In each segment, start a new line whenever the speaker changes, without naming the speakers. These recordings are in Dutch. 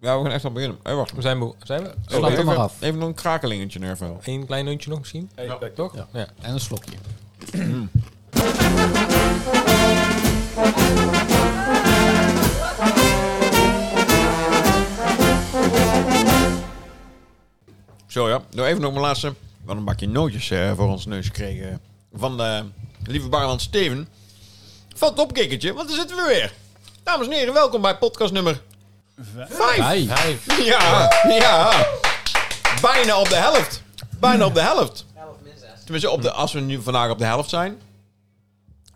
Ja, we gaan echt al beginnen. Hé, wacht.
We zijn moe. Zijn we?
Oh,
Slap.
even,
maar af.
even nog een krakelingetje nervel.
Eén klein nuntje nog misschien? Toch? Ja.
En een slokje.
Zo ja, nou even nog mijn laatste. We hadden een bakje nootjes eh, voor ons neus gekregen. Van de lieve barman Steven. Van het opkikkertje, want daar zitten we weer. Dames en heren, welkom bij podcast nummer 5.
Hey.
Hij
Ja, ja. Bijna op de helft. Bijna op de helft. Tenminste, op de, als we nu vandaag op de helft zijn,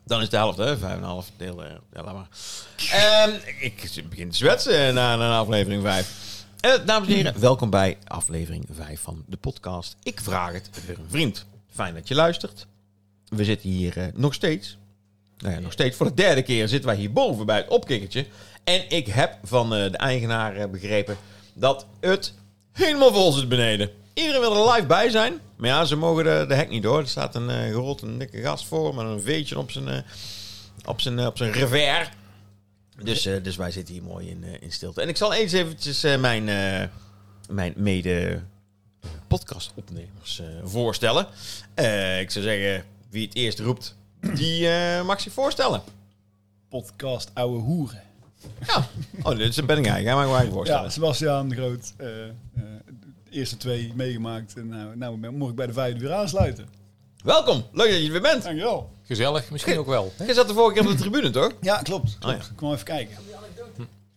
dan is de helft, hè? Vijf en een half deel. eh, Ja, laat maar. Ehm, ik ik begin te zwetsen na, na aflevering 5. dames en heren, welkom bij aflevering 5 van de podcast. Ik vraag het voor een vriend. Fijn dat je luistert. We zitten hier eh, nog steeds. Nou ja, nog steeds voor de derde keer zitten wij hierboven bij het opkikkertje. En ik heb van eh, de eigenaar eh, begrepen dat het helemaal vol zit beneden. Iedereen wil er live bij zijn. Maar ja, ze mogen de, de hek niet door. Er staat een eh gerold, een dikke gast voor met een veetje op zijn, eh, op zijn, eh, op zijn revers. Dus, eh, dus wij zitten hier mooi in, eh, in stilte. En ik zal eens eventjes eh, mijn, eh, mijn mede podcastopnemers eh, voorstellen. Eh, ik zou zeggen, wie het eerst roept, die eh, mag zich voorstellen.
podcast Oude Hoeren.
Ja. Oh, dit is een benning eigenlijk. Hij mag mij
Ja,
voorstellen.
Sebastiaan Groot. eh, eh, de eerste twee meegemaakt. En nou, nou ben- mocht ik bij de vijfde weer aansluiten.
Welkom. Leuk dat je er bent.
Dankjewel.
Gezellig, misschien ook wel. hè?
Je zat de vorige keer op de tribune, toch?
Ja, klopt. klopt.
Oh, ja.
Ik kwam even kijken.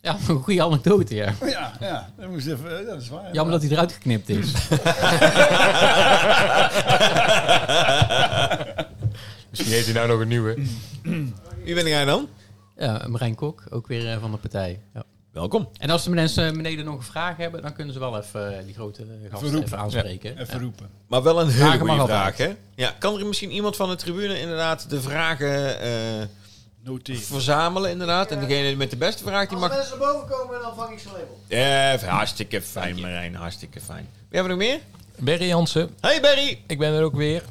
Ja, een goede anekdote, ja.
Oh, ja, ja. Dat, moest even, eh, dat is waar.
Jammer dat hij eruit geknipt is.
Misschien heeft hij nou nog een nieuwe.
Wie ben jij dan?
Ja, Marijn Kok, ook weer eh, van de partij. Ja.
Welkom.
En als de mensen beneden nog een vraag hebben, dan kunnen ze wel even eh, die grote gast
roepen.
even aanspreken.
Even roepen.
Maar wel een hele
Vragen
goede
mag altijd.
vraag, hè? Ja, kan er misschien iemand van de tribune inderdaad de vragen eh,
Noteer.
verzamelen, inderdaad? En degene met de beste vraag, die
Als
mag...
mensen boven komen, dan vang ik ze label.
Eh, hartstikke fijn, Marijn. Hartstikke fijn. Wie hebben we nog meer?
Berry Jansen,
Hey, Barry.
ik ben er ook weer.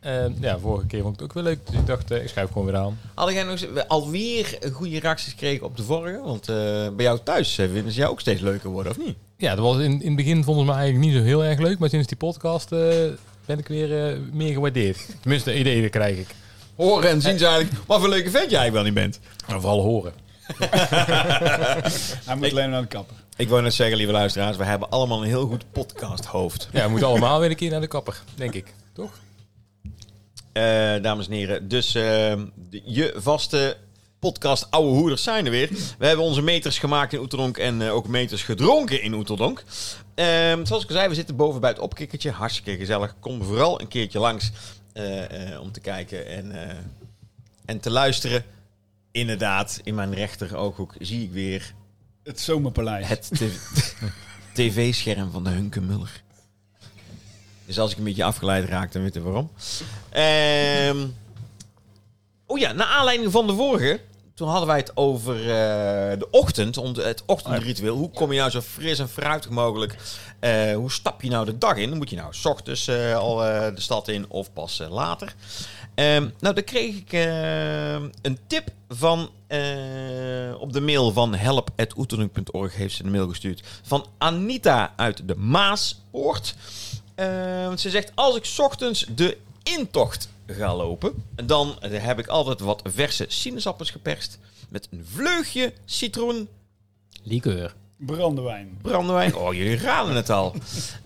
Eh, ja, vorige keer vond ik het ook wel leuk. Dus ik dacht, eh, ik schuif gewoon weer aan.
Hadden jij nog eens- alweer goede reacties gekregen op de vorige? Want eh, bij jou thuis eh, vinden ze jou ook steeds leuker worden, of niet?
Ja, dat was in, in het begin vonden ze me eigenlijk niet zo heel erg leuk. Maar sinds die podcast eh, ben ik weer eh, meer gewaardeerd. Tenminste, ideeën krijg ik.
Horen en zien ze eigenlijk wat voor leuke vent jij eigenlijk wel niet bent.
En vooral horen.
Hij moet alleen maar naar de kapper.
Ik wou net zeggen, lieve luisteraars, we hebben allemaal een heel goed podcasthoofd.
Ja, we moeten allemaal weer een keer naar de kapper, denk ik. Toch?
Eh, dames en heren, dus eh, de- je vaste podcast Oude Hoeders zijn er weer. We hebben onze meters gemaakt in Oeteldonk en eh, ook meters gedronken in Oeteldonk. Ehm, zoals ik al zei, we zitten boven bij het opkikkertje. Hartstikke gezellig. Kom vooral een keertje langs eh, eh, om te kijken en, eh, en te luisteren. Inderdaad, in mijn rechter ooghoek zie ik weer
Het Zomerpaleis.
Het tv- tv-scherm van de Hunke Muller. Dus als ik een beetje afgeleid raak, dan weet je waarom. Ehm, oh ja, naar aanleiding van de vorige. Toen hadden wij het over eh, de ochtend, om de- het ochtendritueel. Hoe kom je nou zo fris en fruitig mogelijk? eh, hoe stap je nou de dag in? Moet je nou 's ochtends eh, al eh, de stad in of pas eh, later? Ehm, nou, daar kreeg ik ehm, een tip van eh, op de mail van help.oeternoek.org heeft ze een mail gestuurd. Van Anita uit de Maaspoort. Ehm, ze zegt, als ik 's ochtends de intocht ga lopen, dan heb ik altijd wat verse sinaasappels geperst. Met een vleugje citroen,
Liqueur.
Brandewijn.
brandewijn. Oh, jullie raden het al.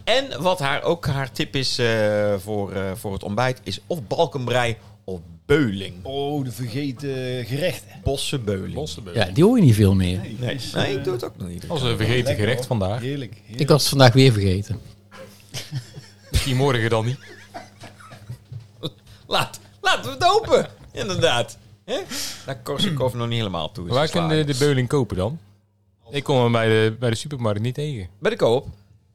En wat haar ook haar tip is eh, voor, eh, voor het ontbijt, is of balkenbrei of beuling.
Oh, de vergeten gerechten.
Bossenbeuling.
Bossenbeulen.
Ja, die hoor je niet veel meer.
Nee,
is,
nee,
eh,
ik doe het ook nog niet.
Als een vergeten
lekker,
gerecht
hoor.
vandaag.
Heerlijk. heerlijk.
Ik was het vandaag weer vergeten.
Misschien morgen dan niet.
Laat, laten we het open. Inderdaad. Hè? Daar Korsakoff nog niet helemaal toe. is
Waar
geslagen.
kun je de, de beuling kopen dan? Ik kom hem bij de, bij de supermarkt niet tegen.
Bij de koop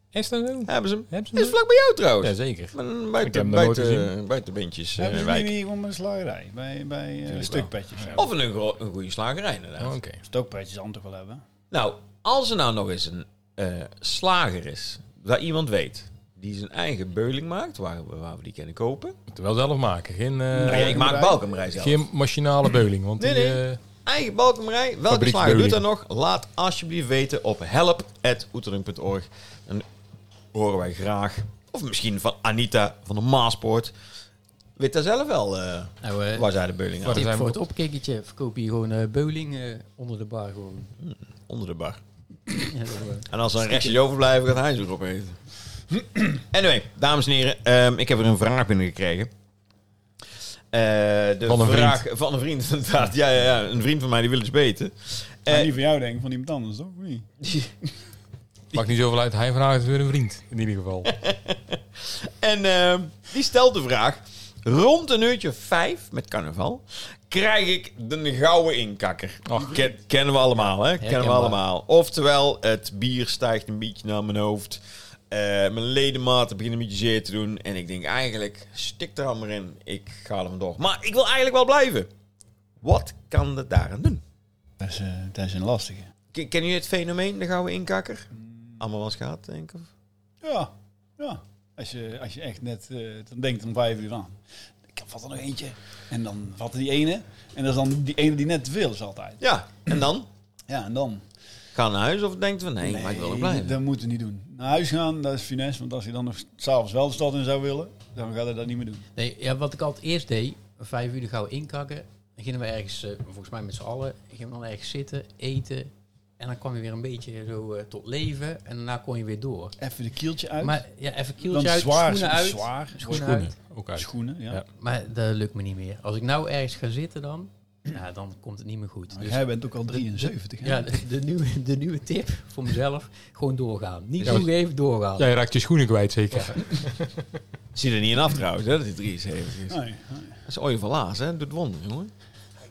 Is dat zo?
hebben ze hem.
Hebben ze hem
Is vlak bij jou trouwens.
Jazeker.
Maar Buiten,
hem nog nooit
buiten, buiten bandjes. eh,
Hebben ze
wijk.
die niet gewoon bij de slagerij? Bij, bij eh stukpetjes.
Of een, gro- een goede slagerij inderdaad.
Oh, Oké.
Stokpetjes aan toch wel hebben?
Nou, als er nou nog eens een eh, slager is, waar iemand weet, die zijn eigen beuling maakt, waar we, waar we die kunnen kopen.
Moeten we wel zelf maken. Geen, eh,
Nou ja, ik maak
Balkenbrei.
balkenbrei zelf.
geen machinale beuling. Want
Nee,
die,
nee.
eh,
Eigen balkenbrei. Welke
Fabriek
slager doet
Beuling.
dat nog? Laat alsjeblieft weten op help.oetering.org. En horen wij graag. Of misschien van Anita van de Maaspoort. Weet dat zelf wel, eh,
Nou, eh,
waar zij de beuling aan
Waar-
tip
zijn we-
voor het opkikkertje. Verkoop je gewoon eh bowling eh, onder de bar. Gewoon.
onder de bar.
Ja, zo, eh.
En als er een restje overblijft, gaat hij ze erop eten. anyway, dames en heren, ehm, ik heb er een vraag binnengekregen. Eh de
Van een
vraag van een vriend, inderdaad. Ja, ja, ja, een vriend van mij die wil iets weten. Eh,
Maar niet van jou denk ik, van iemand anders, toch? Of niet?
Maakt niet zoveel uit. Hij vraagt het weer een vriend. In ieder geval.
En ehm, die stelt de vraag: rond een uurtje vijf met carnaval krijg ik de gouden inkakker.
Och.
Ken- kennen we allemaal, hè? Kennen we
Herkenbaar.
allemaal. Oftewel, het bier stijgt een beetje naar mijn hoofd. Eh, mijn ledematen beginnen een beetje zeer te doen. En ik denk eigenlijk, stik er allemaal in. Ik ga er vandoor. Maar ik wil eigenlijk wel blijven. Wat kan het daaraan doen?
Dat is, eh, dat is een lastige.
Ken- Kennen jullie het fenomeen, de gouden inkakker? Allemaal wel eens gehad, denk ik. of?
Ja, ja. Als je, als je echt net, eh, dan denkt om vijf uur van, ik vat er nog eentje. En dan vatte die ene. En dat is dan die ene die net te veel is altijd.
Ja, en dan?
Ja, en dan?
Ga naar huis of denkt van nee, maar ik wil er blijven.
dat moeten we niet doen. Naar huis gaan, dat is finesse. Want als je dan nog s'avonds wel de stad in zou willen, dan gaat hij dat niet meer doen.
Nee, ja, wat ik altijd eerst deed, vijf uur de gauw inkakken. Dan gingen we ergens, eh, volgens mij met z'n allen, gingen we dan ergens zitten, eten. En dan kwam je weer een beetje zo eh, tot leven. En daarna kon je weer door.
Even de kieltje uit.
Maar ja, even
dan
kieltje uit,
zwaar,
schoenen
zo-
uit.
zwaar.
Schoenen, uit.
Ook uit.
Schoenen, ja.
Ja.
Maar dat lukt me niet meer. Als ik nou ergens ga zitten dan, ja, dan komt het niet meer goed.
Maar
Dus
jij bent ook al 73. hè?
ja, de, de nieuwe, de nieuwe tip voor mezelf, gewoon doorgaan. Niet
Ja,
toegeven, doorgaan.
Jij raakt je schoenen kwijt zeker.
Zie er niet in af trouwens, hè, dat hij 73 is.
Nee,
Dat is ooit verlaas, hè? Doet wonder, jongen.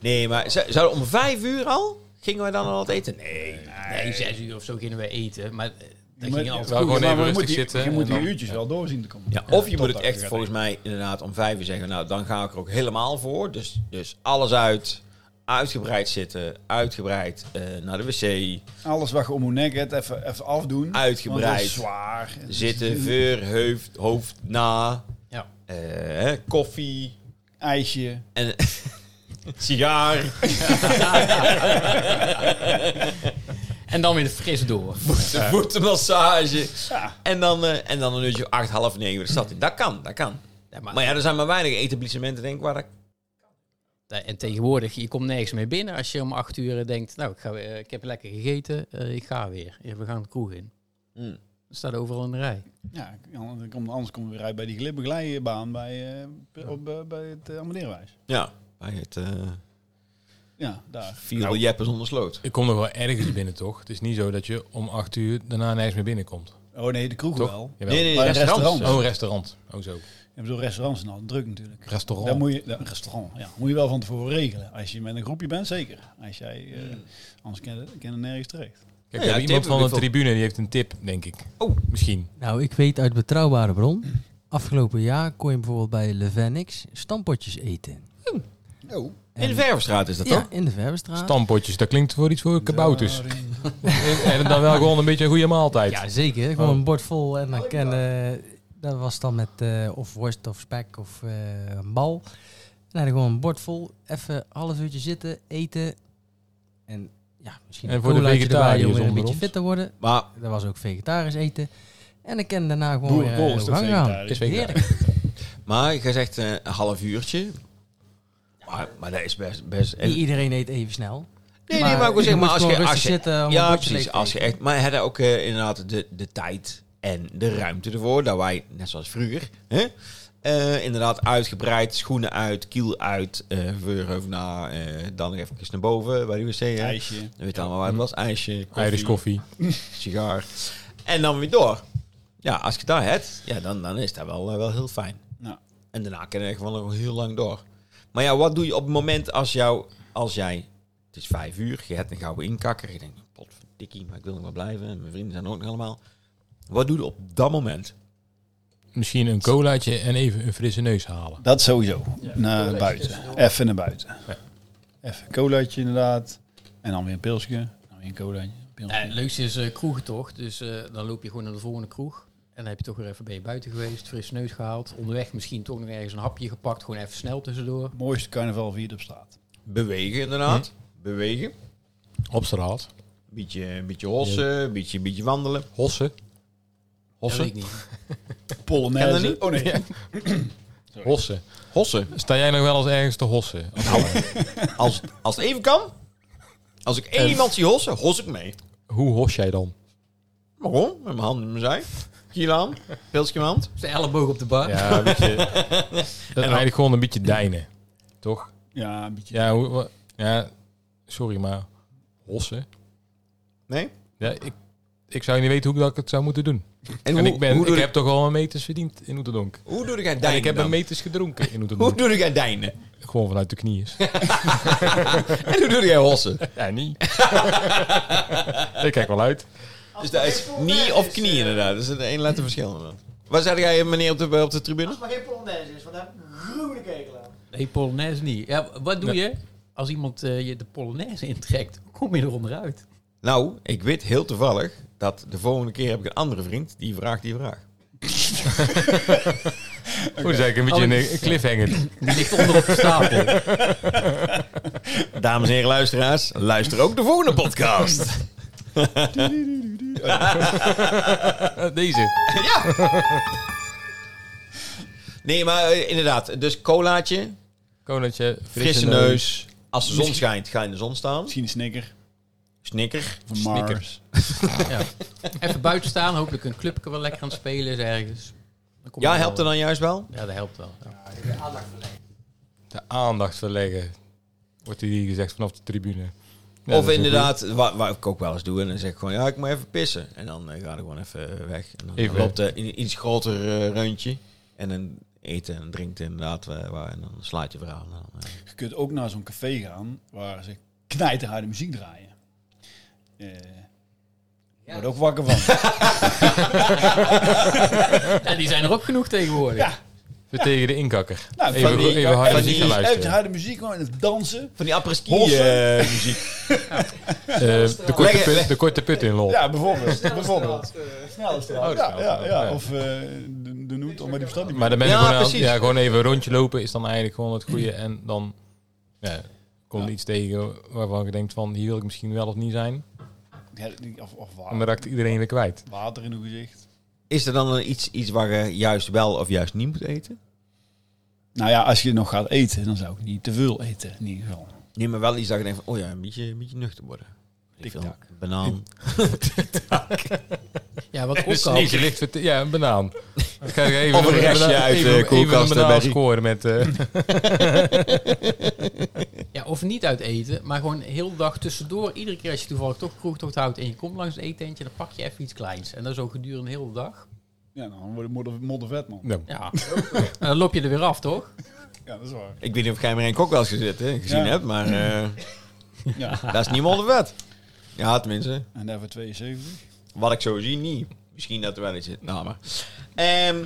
Nee, maar z- zou om vijf uur al? Gingen wij dan al wat eten? Nee.
Nee, zes uur of zo gingen we eten. Maar eh, dat
moet-
ging altijd
Wel gewoon
Maar
even
je
rustig
moet die-
zitten.
Je
en
moet die
dan-
uurtjes wel doorzien te komen.
Ja, Nou, of je
tot
moet het
dat je
echt
gaat
volgens mij inderdaad om vijf uur zeggen. Nou, dan ga ik er ook helemaal voor. Dus, dus alles uit. Uitgebreid zitten. Uitgebreid eh, naar de wc.
Alles wat je om je nek hebt, even, even afdoen.
Uitgebreid.
Want dat is zwaar.
Zitten, ver, hoofd, hoofd na.
Ja.
Eh, hè, koffie.
IJsje.
En sigaar.
En dan weer fris door.
De voetenmassage.
Ja.
En, dan, eh, en dan een uurtje of acht, half negen weer de stad in. Dat kan, dat kan.
Ja, maar-
Maar ja, er zijn maar weinig etablissementen, denk ik, waar dat...
En tegenwoordig, je komt nergens meer binnen als je om acht uur denkt, nou, ik, ga, weer- ik heb lekker gegeten, eh, ik ga weer. Ja, We gaan de kroeg in.
Hmm.
Er staat overal een rij.
Ja, anders komt anders komen we weer uit bij die glibberglijbaan bij, eh, p- op, eh, bij het uh,
Ja, bij het eh
Ja, daar.
viel nou. jeppen zonder sloot.
Ik kom nog wel ergens binnen, toch? Het is niet zo dat je om acht uur daarna nergens meer binnenkomt.
Oh nee, de kroeg
Toch?
wel.
Jawel.
Nee, nee,
Bij
restaurants.
Oh, een restaurant. Oh, zo.
Je hebt zo'n restaurants en al druk natuurlijk.
Restaurant.
Daar moet je, daar- een restaurant, ja. Moet je wel van tevoren regelen. Als je met een groepje bent, zeker. Als jij, eh, anders kan je, kan je nergens terecht.
Kijk,
Ja,
we hebben iemand
tip,
van de
wiffel.
tribune die heeft een tip, denk ik.
Oh.
Misschien.
Nou, ik weet uit betrouwbare bron. Afgelopen jaar kon je bijvoorbeeld bij Levenix stampotjes eten.
Oh.
In de
En-
Verfstraat is dat
Ja,
toch?
in de
Ah.
Verbestraat.
Stampotjes, dat klinkt voor iets voor kabouters. Eh, en dan wel gewoon een beetje een goede maaltijd.
Ja, zeker. Gewoon
Oh.
een bord vol en dan ken, eh, dat was dan met eh, of worst of spek of eh, een bal. En dan gewoon een bord vol, even een half uurtje zitten, eten en ja, misschien
En
een
voor de
colaatje erbij
vegetariërs
om weer een
onder
beetje
ons.
fit te worden.
Maar
Dat was ook vegetarisch eten. En dan ken daarna gewoon weer, eh,
Boerenkool is
op
toch
gang gaan.
vegetarisch?
Het is vegetarisch.
Maar je zegt eh, een half uurtje. Maar, maar dat is best... best
Niet iedereen eet even snel.
nee, nee, maar ik wil
je
zeggen, maar
moet
als je...
gewoon rustig
Als je
zitten, om een
ja,
bordje leeg
precies.
te
Als je
eten.
echt, maar hadden ook eh, inderdaad de, de tijd en de ruimte ervoor. Dat wij, net zoals vroeger, hè, eh, inderdaad uitgebreid, schoenen uit, kiel uit, eh veurheuvel na, eh, dan nog even naar boven bij de wc. Hè.
IJsje.
Dan weet je allemaal waar het was. IJsje,
Irish
koffie,
koffie.
sigaar. En dan weer door. Ja, als je dat hebt, ja, dan, dan is dat wel, eh, wel heel fijn.
Nou,
En daarna kan je echt wel nog heel lang door. Maar ja, wat doe je op het moment als, jou, als jij... Het is vijf uur, je hebt een gouden inkakker. Je denkt, potverdikkie, maar ik wil nog wel blijven. En mijn vrienden zijn ook nog allemaal. Wat doe je op dat moment?
Misschien een colaatje en even een frisse neus halen.
dat sowieso. naar buiten. Even naar buiten. Even een colaatje inderdaad. En dan weer een pilsje. Dan weer een colaatje. een pilsje.
Ja, het leukste is eh kroegen toch, dus eh, dan loop je gewoon naar de volgende kroeg. En dan heb je toch weer even ben je buiten geweest, frisse neus gehaald. Onderweg misschien toch nog ergens een hapje gepakt, gewoon even snel tussendoor.
Het mooiste carnaval viert op straat.
Bewegen inderdaad. bewegen.
Op straat.
Een beetje, een beetje hossen, een beetje, een beetje wandelen.
Hossen.
Dat
Hossen.
weet ik niet.
Ken je dat
Polonaise.
niet?
Oh nee.
Hossen.
Hossen.
Sta jij nog wel eens ergens te hossen?
Als, als het even kan, als ik één iemand zie hossen, hos ik mee.
Hoe hos jij dan?
Waarom? Met mijn handen in mijn zij. Kiel aan, pilsje in mijn hand.
Zijn elleboog op de bar.
Ja, een beetje... Dat is eigenlijk gewoon een beetje deinen. Toch?
Ja, een beetje.
Ja, hoe, wa- ja sorry, maar hossen?
Nee?
Ja, ik, ik zou niet weten hoe dat ik het zou moeten doen. En,
hoe,
ik, ben,
hoe,
ik
doe
heb toch al mijn meters verdiend in Oeterdonk.
hoe doe jij
En
deinen
ik heb
dan?
mijn meters gedronken in
Hoe
Oeterdonk.
doe jij deinen?
Gewoon vanuit de knieën.
En hoe doe jij hossen?
Ja, niet. ik kijk wel uit.
Dus daar is knie of
eh,
knie inderdaad. Dat is een één letter verschil inderdaad. Waar zei jij meneer op de, op de
Als
tribune?
het maar geen polonaise is, want daar heb ik gruwelijk hekel aan.
Nee, Polonaise niet. Ja, wat doe je als iemand eh, je de Polonaise intrekt? Hoe Kom je eronder uit?
Nou, ik weet heel toevallig dat de volgende keer heb ik een andere vriend die vraagt die vraag.
Hoe is eigenlijk
Oh,
een beetje een eh, cliffhanger.
Die ligt onder op de stapel.
Dames en heren luisteraars, luister ook de volgende podcast.
Eh, Deze.
Nee, maar eh, inderdaad. Dus colaatje,
Konatje,
frisse neus. Als de zon schijnt, ga je in de zon staan.
Misschien een snicker.
Snikker.
Of een Mars.
Ja. Even buiten staan, hopelijk een clubje wel lekker aan het spelen is ergens. Dan kom
Ja,
je
helpt er
wel.
dan juist wel?
Ja, dat helpt wel. Ja.
De aandacht verleggen. Wordt hier gezegd vanaf de tribune. Ja, dat
of
is
inderdaad, wat, wat ik ook wel eens doe. En dan zeg ik gewoon, ja, ik moet even pissen. En dan eh, ga ik gewoon even eh, weg. En dan
Even.
loopt er een iets groter eh, reuntje. En dan eten en drinkt inderdaad. eh, waar, en dan slaat je verhaal. En dan, eh,
Je kunt ook naar zo'n café gaan waar ze knijterharde muziek draaien. Eh ik Word ook wakker van.
die zijn er ook genoeg tegenwoordig.
Ja.
goed. Tegen de inkakker.
Nou,
Even,
van die-
even harde
van
muziek
die-
gaan
Even
luisteren.
harde muziek gewoon en het dansen.
Van die apres-ski
Hossen.
eh, muziek.
Eh, de, korte
Leggen-
put, de korte put in lol.
Ja, bijvoorbeeld. bijvoorbeeld.
Snel straat.
Oh, dat is
Ja,
wel-
ja,
ja.
ja. Of eh, de, de noot, om maar die verstand niet
Maar dan ben je
Ja,
gewoon, aan-
precies.
ja, gewoon even een rondje lopen is dan eigenlijk gewoon het goede. En dan ja, komt er iets tegen waarvan je denkt van hier wil ik misschien wel of niet zijn.
meer. Ja, Of, of
En dan
water,
raakt iedereen weer kwijt.
water in uw gezicht.
Is er dan een iets, iets waar je juist wel of juist niet moet eten?
Nou ja, als je nog gaat eten, dan zou ik niet te veel eten. In ieder geval.
Nee, maar wel iets dat je denkt van, oh ja, een beetje, een beetje nuchter worden. Ik
Tik
wil
tak.
Banaan.
Ja, wat ook
Dus
al.
je ligt verte- ja, een banaan. Dan ga ik even
Of een restje
banaan-
uit de
even- even
koelkast, eh,
een banaan
Barry.
scoren met... eh,
Ja, of niet uit eten, maar gewoon heel de dag tussendoor. Iedere keer als je toevallig toch kroegtocht houdt en je komt langs het eetentje, dan pak je even iets kleins. En dat zo gedurende heel de dag.
Ja, nou, dan wordt het modder, moddervet, man.
nou,
Ja, en dan loop je er weer af, toch?
Ja, dat is waar.
Ik weet niet of jij maar één kok wel eens gezet, hè, gezien
Ja.
hebt, maar eh,
Ja.
dat is niet meer onder wet. Ja, tenminste.
En daarvoor 72.
Wat ik zo zie, niet. Misschien dat er wel iets zit. Nou, maar. Ehm,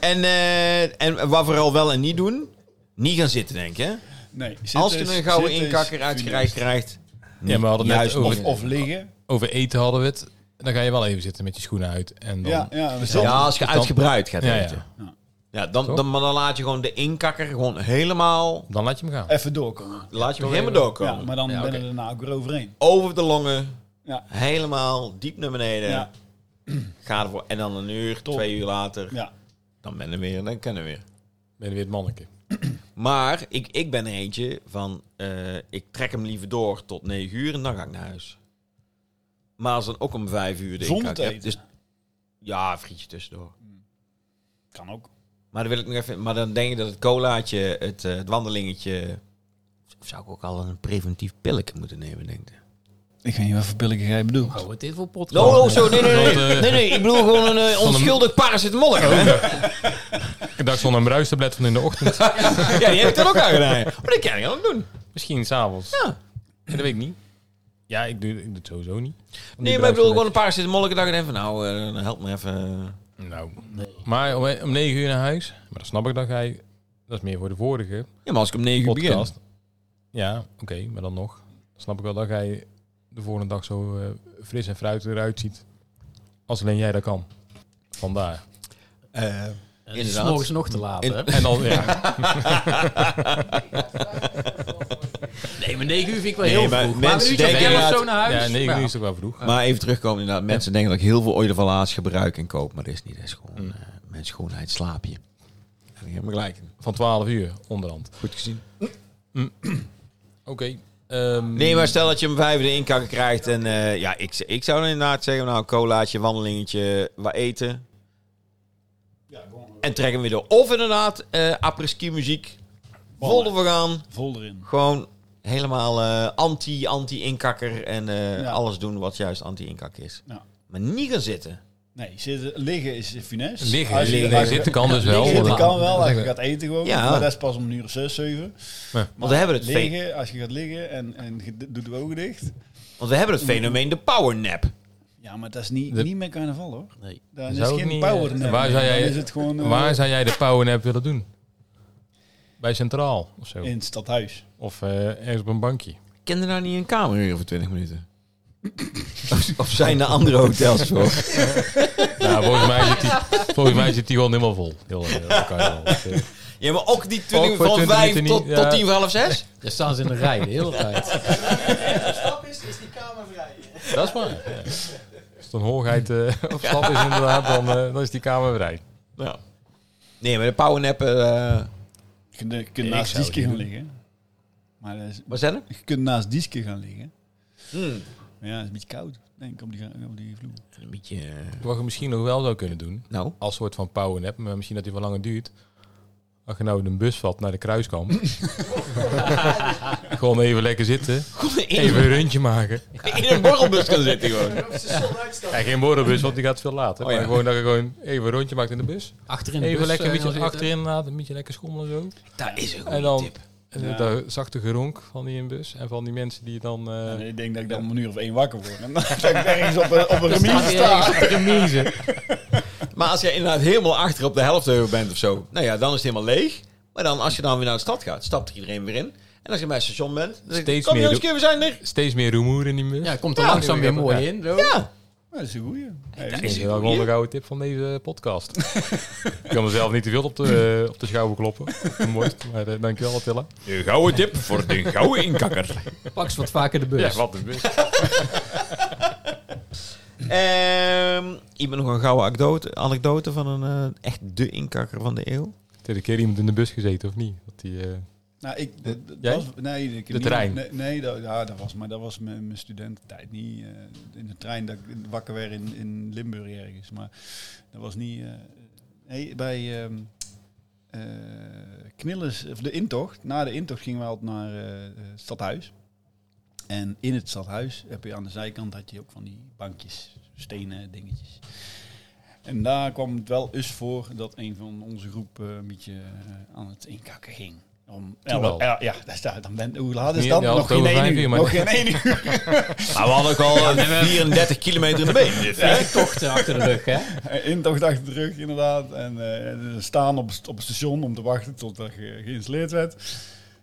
en, eh, en wat vooral wel en niet doen, niet gaan zitten, denk je.
Nee. dus-
Als je
zitten is-
een gouden
zitten is
inkakker uitgereikt Oh,
funest.
krijgt,
ja, we hadden het net
Juist
over,
Of, of liggen.
over eten hadden we het. Dan ga je wel even zitten met je schoenen uit. En dan,
Ja, ja, we zitten.
ja, als je
dan-
uitgebreid gaat
Ja, ja.
eten. Ja, dan, dan, maar dan laat je gewoon de inkakker gewoon helemaal,
dan laat je hem gaan.
Even doorkomen.
laat je hem helemaal doorkomen.
Ja, maar dan
Ja,
ben je
oké.
er daarna ook weer overheen.
Over de longen,
Ja.
helemaal diep naar beneden.
Ja.
Ga ervoor. En dan een uur,
Top.
twee uur later,
Ja.
dan ben je er weer en dan kennen we weer.
Ben je weer het manneke.
Maar ik, ik ben er eentje van, eh, ik trek hem liever door tot negen uur en dan ga ik naar huis. Maar als dan ook om vijf uur de
Zonder
inkak
te
heb,
eten.
Dus, ja, een frietje tussendoor.
Kan ook.
Maar dan, wil ik nog even, maar dan denk ik dat het colaatje, het, eh, het wandelingetje... Of zou ik ook al een preventief pilletje moeten nemen, denk ik.
Ik weet niet wat voor billige jij bedoelt.
Oh, wat is dit voor podcast?
Oh, oh, zo, nee, nee, nee.
Dat, eh,
nee, nee, ik bedoel gewoon een eh,
een-
onschuldig paracetamol.
Ik dacht van een bruistablet van in de ochtend.
Ja, die heb ik dan ook aangedaan. Maar dat kan ik ook doen.
Misschien s'avonds.
Ja.
Dat weet ik niet. Ja, ik doe, ik doe het sowieso niet.
Nee, maar ik bedoel gewoon een paracetamol. Ik dacht even, nou, eh, dan help me even.
Nou, maar om, om negen uur naar huis. Maar dat snap ik, dan ga je... Dat is meer voor de vorige
Ja, maar als ik om negen uur begin.
podcast. Ja, oké, maar dan nog. Dan snap ik wel, dan ga je de volgende dag zo eh, fris en fruitig eruit ziet. Als alleen jij dat kan. Vandaar.
Het is
Inderdaad.
morgens nog te laat,
In-
hè?
En dan, ja.
Nee, maar 9 uur vind ik wel
Nee,
heel
maar
vroeg. Maar een
mensen
uurtje of
denken
11 of zo
inderdaad-
naar huis.
Ja,
Nou,
9
Maar
uur is toch wel vroeg.
Maar even terugkomen inderdaad. Mensen denken dat ik heel veel oileverlaas gebruik en koop. Maar dat is niet. Dat is gewoon eh mijn schoonheid slaap je. En ik heb me gelijk. in.
Van 12 uur onderhand.
Goed gezien.
Oké. ehm,
Nee, maar stel dat je hem vijf in de inkakken krijgt. En eh, ja, ik, ik zou dan inderdaad zeggen, nou, een colaatje, wandelingetje, wat eten.
Ja, gewoon
En trek hem weer door. Of inderdaad, eh apres-ski muziek. Vol
Ballen.
ervoor gaan.
vol erin.
Gewoon helemaal eh, anti, anti-inkakker. En eh,
Ja.
alles doen wat juist anti-inkak is.
Ja.
Maar niet gaan zitten.
Nee, zitten, liggen is finesse.
Liggen,
Als je-
liggen,
als je-
zitten kan dus
liggen,
wel.
zitten
maar-
kan wel, als je
Liggen.
gaat eten gewoon.
Ja.
Maar dat is pas om een uur of zes, zeven.
Want we hebben het, fe-
Liggen, als je gaat liggen en, en je d- doet de ogen dicht.
want we hebben het fenomeen de powernap.
Ja, maar dat is niet,
De-
niet meer carnaval hoor.
Nee.
Dan is
Zou ook
geen
niet,
power
eh,
nap
waar
meer.
zou
Dan
jij-
is het gewoon eh,
Waar zou jij de powernap willen doen? Bij Centraal of zo?
in het stadhuis.
Of eh, ergens op een bankje?
Kende daar nou niet een kamer voor 20 minuten? of, of zijn er andere hotels voor?
Nou, volgens mij zit die, volgens mij zit die gewoon helemaal vol. Heel, eh, dat kan je wel. Dat, eh,
Ja, maar ook die 20,
Ook voor
van
20
vijf
minuten
tot,
niet,
tot
ja.
tien voor half zes?
Daar staan ze in de rij de hele tijd.
De stap is, is die kamer vrij.
dat is waar. ja. Als dan hoogheid eh op stap is inderdaad, dan, eh, dan is die kamer vrij.
Ja. Nee, maar de powernap... eh
Je kunt, je kunt
Ik
naast
zou het
Dieske
niet
gaan
doen.
liggen. Maar dat is,
wat zijn er?
je kunt naast Dieske gaan liggen.
Hmm.
Maar ja, het is een beetje koud, denk ik, op die, ga- op die vloer.
Een beetje... eh,
Wat je misschien nog wel zou kunnen doen,
nou,
als soort van powernap, maar misschien dat die wel langer duurt. Als je nou in een bus vat naar de kruiskamp. gewoon even lekker zitten.
goed in,
Even een rondje maken.
in een borrelbus kan zitten gewoon.
Of ze zon uitstappen.
Ja, geen borrelbus, want die gaat veel later.
Oh ja.
Maar gewoon dat je gewoon even een rondje maakt in de bus.
Achterin de
Even
bus,
lekker
eh,
een beetje
zitten.
achterin inderdaad, een beetje lekker schommelen zo.
Oh,
Dat is een
En
goede
dan
tip.
en
Ja.
dat zachte geronk van die inbus en van die mensen die dan... eh,
En ik denk dat ik dan om een uur of één wakker word. En dan dat ik ergens op een, op een remise
Staat
sta.
ergens op de remise.
Maar als je inderdaad helemaal achter op de helft over bent of zo, nou ja, dan is het helemaal leeg. Maar dan, als je dan weer naar de stad gaat, stapt iedereen weer in. En als je bij het station bent, dan zeg je,
Steeds
kom
meer
jongens,
doe-
keer, we zijn er.
Steeds meer rumoer in die bus.
Ja, het komt er
Ja,
langzaam weer
ja.
mooi in. Zo.
Ja,
Ja, dat is een goeie. Ja,
dat
Dat
is
is
een
wel gewoon
goeie.
een gouden tip van deze podcast. ik kan mezelf niet te veel op de, eh, op de schouder kloppen. Mooi, maar eh, dankjewel Attila.
De gouden tip voor de gouden inkakker.
Pak ze wat vaker de bus.
Ja, wat een bus.
Ehm iemand nog een gouden anekdote, anekdote van een eh, echt de inkakker van de eeuw?
Tweede keer iemand in de bus gezeten, of niet? Dat die, eh,
Nou, ik, dat, dat
Jij?
was, nee, ik heb
De
niet-
trein?
Nee, nee, dat, ja, dat was, maar dat was mijn, mijn studententijd. Niet eh, in de trein dat ik wakker werd in, in Limburg ergens. Maar dat was niet. eh, nee, bij ehm eh, Knillers, of de intocht. Na de intocht gingen we altijd naar eh, het stadhuis. En in het stadhuis heb je aan de zijkant had je ook van die bankjes, stenen dingetjes. En daar kwam het wel eens voor dat een van onze groep eh, een beetje eh, aan het inkakken ging. Om
Toen al?
elf- ja, ja, daar staat, dan ben, hoe laat is
Niet
dat?
elf,
Nog geen
over
één
vijf
uur.
uur, maar-
Nog geen één uur.
Maar we hadden ook al eh, 34 kilometer in de been.
Ja, tochten achter de rug, hè?
Eh, Intocht achter de rug, inderdaad. En eh, staan op, st- op het station om te wachten tot er ge- geïnstalleerd werd.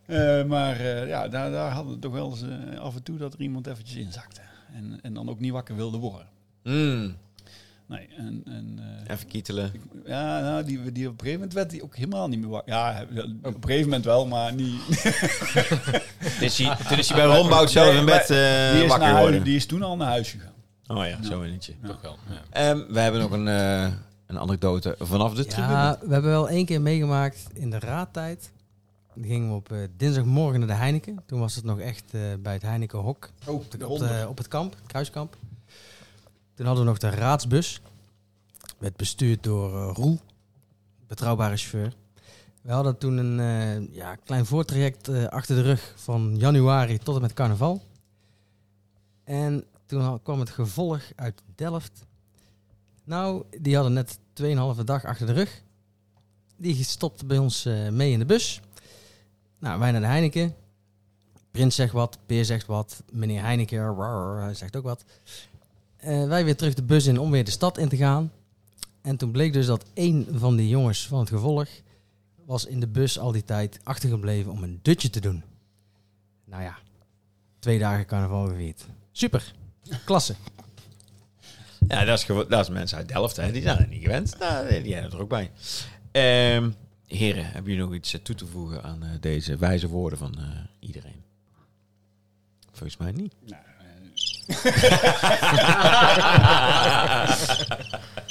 Eh, maar eh, ja, daar, daar hadden we toch wel eens eh, af en toe dat er iemand eventjes inzakte. En, en dan ook niet wakker wilde worden.
Mm,
Nee, en, en eh,
even kietelen.
ja, nou, die, die op een gegeven moment werd die ook helemaal niet meer wakker. Ja, op een gegeven moment wel, maar niet,
Toen is hij, toen is hij bij Rombout zelf in bed eh,
die,
wakker
is naar huis,
geworden.
die is toen al naar huis gegaan.
Oh ja, zo eentje.
Toch wel. Ja.
Ehm, we hebben nog een, eh, een anekdote vanaf de tribune.
Ja, we hebben wel één keer meegemaakt in de raadtijd. Dan gingen we op eh, dinsdagmorgen naar de Heineken. Toen was het nog echt eh, bij het Heineken Hok.
Oh,
op, de- op, de- op het kamp, het kruiskamp. Toen hadden we nog de raadsbus. Werd bestuurd door eh, Roel, betrouwbare chauffeur. We hadden toen een eh, ja, klein voortraject eh, achter de rug van januari tot en met carnaval. En toen al- kwam het gevolg uit Delft. Nou, die hadden net 2,5 dag achter de rug. Die stopte bij ons eh, mee in de bus. Nou, wij naar de Heineken. Prins zegt wat, Peer zegt wat, meneer Heineken rar, hij zegt ook wat. Eh, wij weer terug de bus in om weer de stad in te gaan. En toen bleek dus dat één van die jongens van het gevolg was in de bus al die tijd achtergebleven om een dutje te doen. Nou ja, twee dagen carnaval gevierd. Super, klasse.
Ja, dat is, gewo- dat is mensen uit Delft, hè. die zijn er niet gewend. Nou, die zijn er ook bij. Ehm, heren, hebben jullie nog iets eh, toe te voegen aan eh, deze wijze woorden van eh, iedereen? Volgens mij niet.
Nou, eh,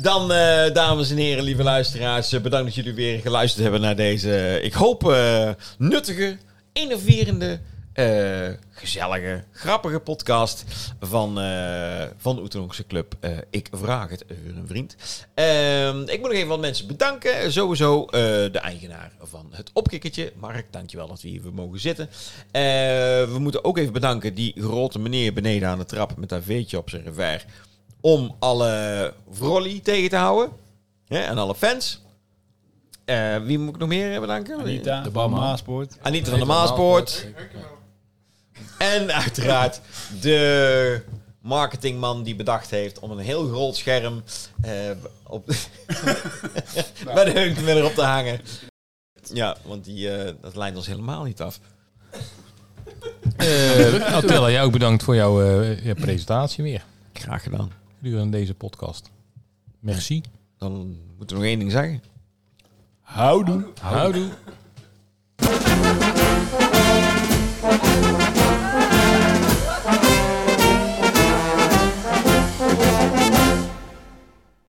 Dan, eh, dames en heren, lieve luisteraars, eh, bedankt dat jullie weer geluisterd hebben naar deze, ik hoop, eh, nuttige, innoverende, eh, gezellige, grappige podcast van, eh van de Oeterhonkse Club. Eh, ik vraag het weer een vriend. Ehm, ik moet nog even wat mensen bedanken. Sowieso eh, de eigenaar van het opkikkertje, Mark. Dankjewel dat we hier weer mogen zitten. Eh, we moeten ook even bedanken die grote meneer beneden aan de trap met haar veetje op zijn revers om alle Vrolly tegen te houden. Hè, en alle fans. Eh, wie moet ik nog meer eh, bedanken?
Anita,
de
de
barman.
Maaspoort.
Anita van de Maaspoort. En uiteraard de marketingman die bedacht heeft om een heel groot scherm eh, op bij de Hunkemuller op te hangen. Ja, want die, eh, dat lijnt ons helemaal niet af.
Eh Attila, jij ook bedankt voor jouw eh, ja, presentatie weer.
Graag gedaan.
Gedurende deze podcast. Merci.
Dan moeten we nog één ding zeggen.
Houdoe. Houdoe.